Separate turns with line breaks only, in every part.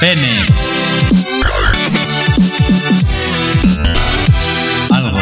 Pene. Algo.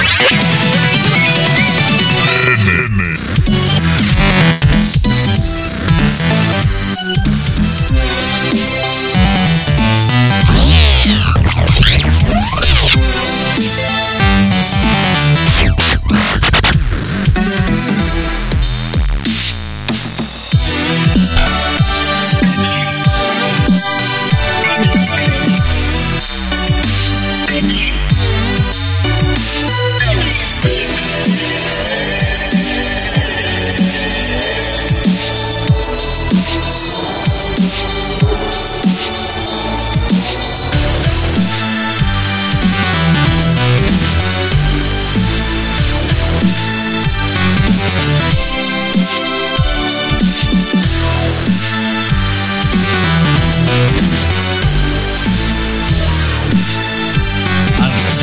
Algo.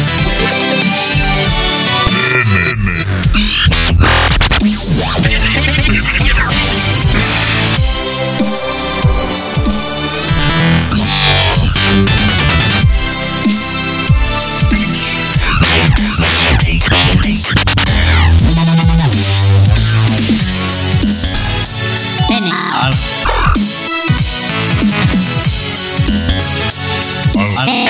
Pene.
Algo. Algo.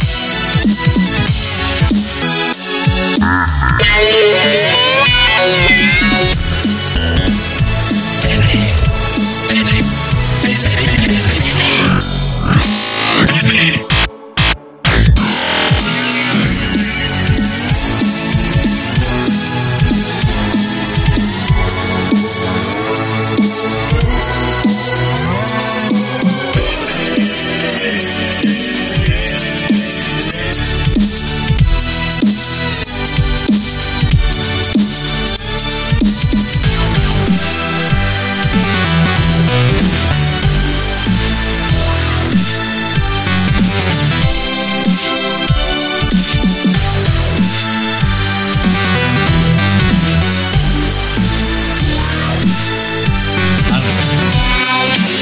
Algo.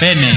Pene.